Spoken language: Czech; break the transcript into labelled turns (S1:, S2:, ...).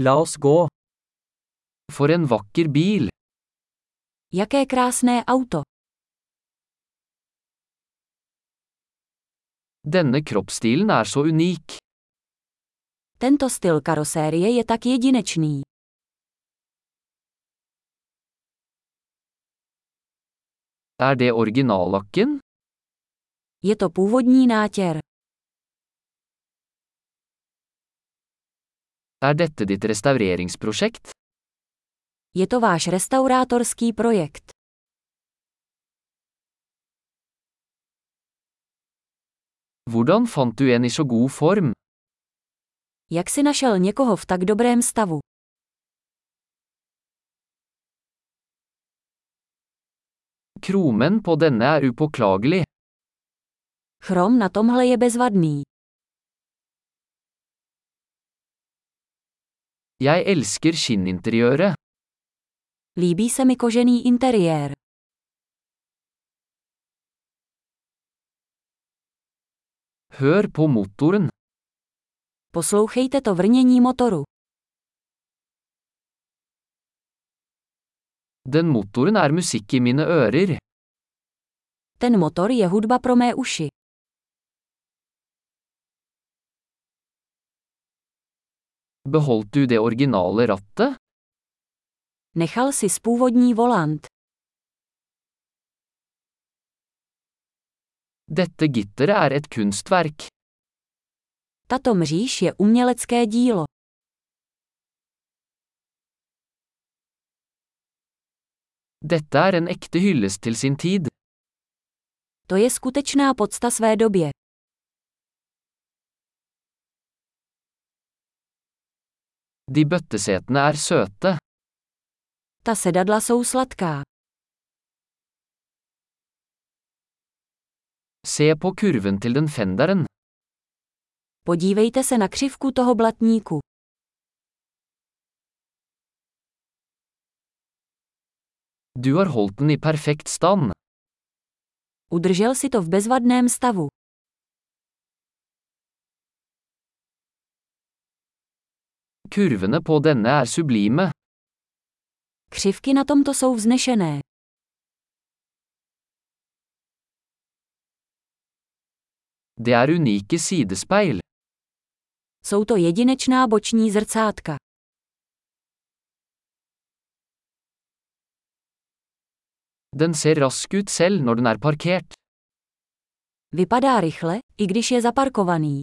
S1: La oss gå. For en vakker bil.
S2: Jaké krásné auto.
S1: Denne kroppsstilen er så unik.
S2: Tento styl karosérie je tak jedinečný.
S1: Er det originallakken?
S2: Je to původní nátěr.
S1: Er dette ditt restaureringsprosjekt?
S2: Je to váš restaurátorský projekt.
S1: Hvordan fant du en i så god form?
S2: Jak si našel někoho v tak dobrém stavu?
S1: Kromen på denne er upåklagelig.
S2: Chrom na tomhle je bezvadný.
S1: Jeg elsker skinninteriøret.
S2: Líbí se mi kožený interiér.
S1: Hør på motoren.
S2: Poslouchejte to vrnění motoru.
S1: Den motoren er musikk i mine ører.
S2: Ten motor je hudba pro mé uši.
S1: Beholdt du det originale rattet?
S2: Nechal si spůvodní volant.
S1: Dette gitteret er et kunstverk.
S2: Tato mříž je umělecké dílo.
S1: Dette er en ekte hyllest til sin tid.
S2: To je skutečná podsta své době.
S1: De bøttesetene er søte.
S2: Ta sedadla jsou sladká.
S1: Se på kurven til den fenderen.
S2: Podívejte se na křivku toho blatníku.
S1: Du har holdt den i perfekt stand.
S2: Udržel si to v bezvadném stavu.
S1: Kurvene på denne er sublime.
S2: Křivky na tomto jsou vznešené.
S1: Det er unike sidespeil.
S2: Jsou to jedinečná boční zrcátka.
S1: Den ser rask ut selv når den er parkert.
S2: Vypadá rychle, i když je zaparkovaný.